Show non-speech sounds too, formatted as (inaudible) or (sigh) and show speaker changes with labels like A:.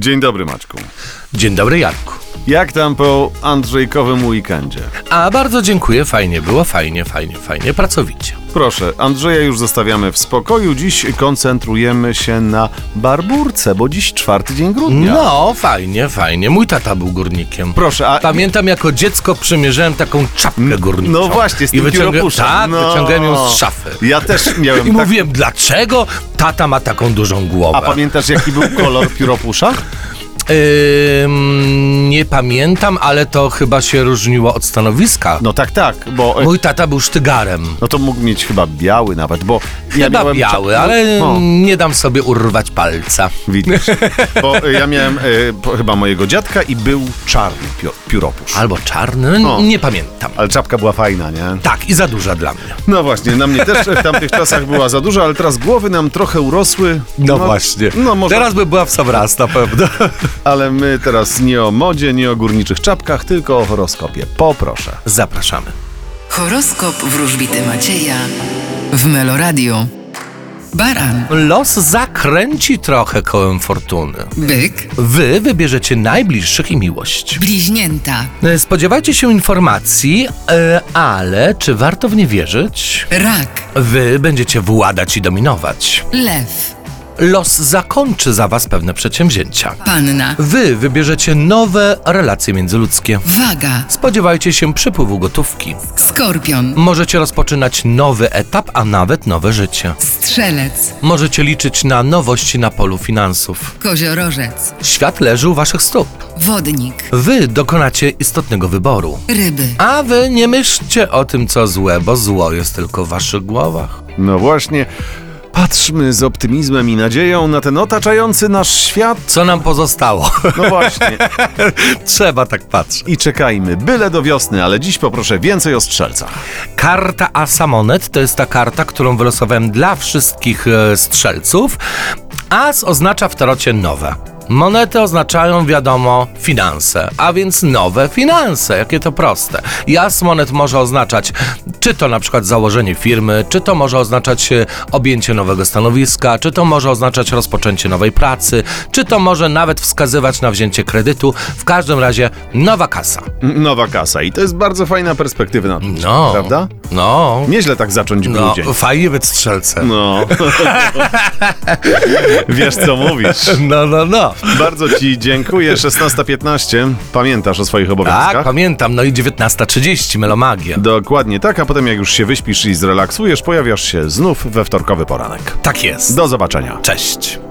A: Dzień dobry, Maczku.
B: Dzień dobry, Jarku.
A: Jak tam po Andrzejkowym weekendzie?
B: A bardzo dziękuję, fajnie było, fajnie, fajnie, fajnie, pracowicie.
A: Proszę, Andrzeja już zostawiamy w spokoju. Dziś koncentrujemy się na barburce, bo dziś czwarty dzień grudnia.
B: No, fajnie, fajnie. Mój tata był górnikiem.
A: Proszę, a
B: Pamiętam, jako dziecko przymierzałem taką czapkę górniczą.
A: no właśnie, z
B: I
A: tym
B: wyciągałem,
A: pióropuszem.
B: tak,
A: no.
B: wyciągałem ją z szafy.
A: Ja też
B: I
A: miałem tak...
B: mówiłem, dlaczego tata ma taką dużą głowę?
A: A pamiętasz, jaki był kolor pióropusza?
B: Ym, nie pamiętam, ale to chyba się różniło od stanowiska.
A: No tak, tak, bo... e,
B: Mój tata był sztygarem.
A: No to mógł mieć chyba biały nawet, bo ja
B: Chyba
A: miałem... cza-
B: biały, ale
A: No,
B: nie dam sobie urwać palca.
A: widzisz. Bo e, ja miałem e, po- chyba mojego dziadka i był czarny pio- pióropusz.
B: Albo czarny, no,
A: O.
B: nie pamiętam.
A: Ale czapka była fajna, nie?
B: Tak, i za duża dla mnie.
A: No właśnie, na mnie też w tamtych czasach była za duża, ale teraz głowy nam trochę urosły. No może,
B: Teraz by była w sam raz na pewno.
A: ale my teraz nie o modzie, nie o górniczych czapkach, tylko o horoskopie. Poproszę.
B: (laughs) Zapraszamy.
C: Horoskop wróżbity Macieja w Meloradio. Baran,
B: Los zakręci trochę kołem fortuny.
C: byk,
B: Wy wybierzecie najbliższych i miłość.
C: bliźnięta,
B: E, Spodziewajcie się informacji, e, ale czy warto w nie wierzyć?
C: rak,
B: Wy będziecie władać i dominować.
C: lew,
B: Los zakończy za was pewne przedsięwzięcia.
C: panna,
B: Wy wybierzecie nowe relacje międzyludzkie.
C: waga,
B: Spodziewajcie się przypływu gotówki.
C: skorpion,
B: Możecie rozpoczynać nowy etap, a nawet nowe życie.
C: strzelec,
B: Możecie liczyć na nowości na polu finansów.
C: koziorożec,
B: Świat leży u waszych stóp.
C: wodnik,
B: Wy dokonacie istotnego wyboru.
C: ryby,
B: A wy nie myślcie o tym, co złe, bo zło jest tylko w waszych głowach.
A: No właśnie, patrzmy z optymizmem i nadzieją na ten otaczający nasz świat.
B: Co nam pozostało? (laughs)
A: No właśnie.
B: Trzeba tak patrzeć.
A: I czekajmy, byle do wiosny, ale dziś poproszę więcej o strzelcach.
B: Karta Asamonet to jest ta karta, którą wylosowałem dla wszystkich e, strzelców. As oznacza w tarocie nowe. Monety oznaczają, wiadomo, finanse, a więc nowe finanse. Jakie to proste. Jas monet może oznaczać, czy to na przykład założenie firmy, czy to może oznaczać e, objęcie nowego stanowiska, czy to może oznaczać rozpoczęcie nowej pracy, czy to może nawet wskazywać na wzięcie kredytu. W każdym razie nowa kasa.
A: Nowa kasa i to jest bardzo fajna perspektywa na przyszłość,
B: No.
A: prawda?
B: No.
A: Nieźle tak zacząć
B: No,
A: grudzień.
B: fajnie być strzelcem. (laughs)
A: No. Wiesz co mówisz.
B: No, no, no.
A: Bardzo Ci dziękuję. 16.15. Pamiętasz o swoich obowiązkach?
B: Tak, pamiętam. No i 19.30, melomagia.
A: Dokładnie tak, a potem jak już się wyśpisz i zrelaksujesz, pojawiasz się znów we wtorkowy poranek.
B: Tak jest.
A: Do zobaczenia.
B: Cześć.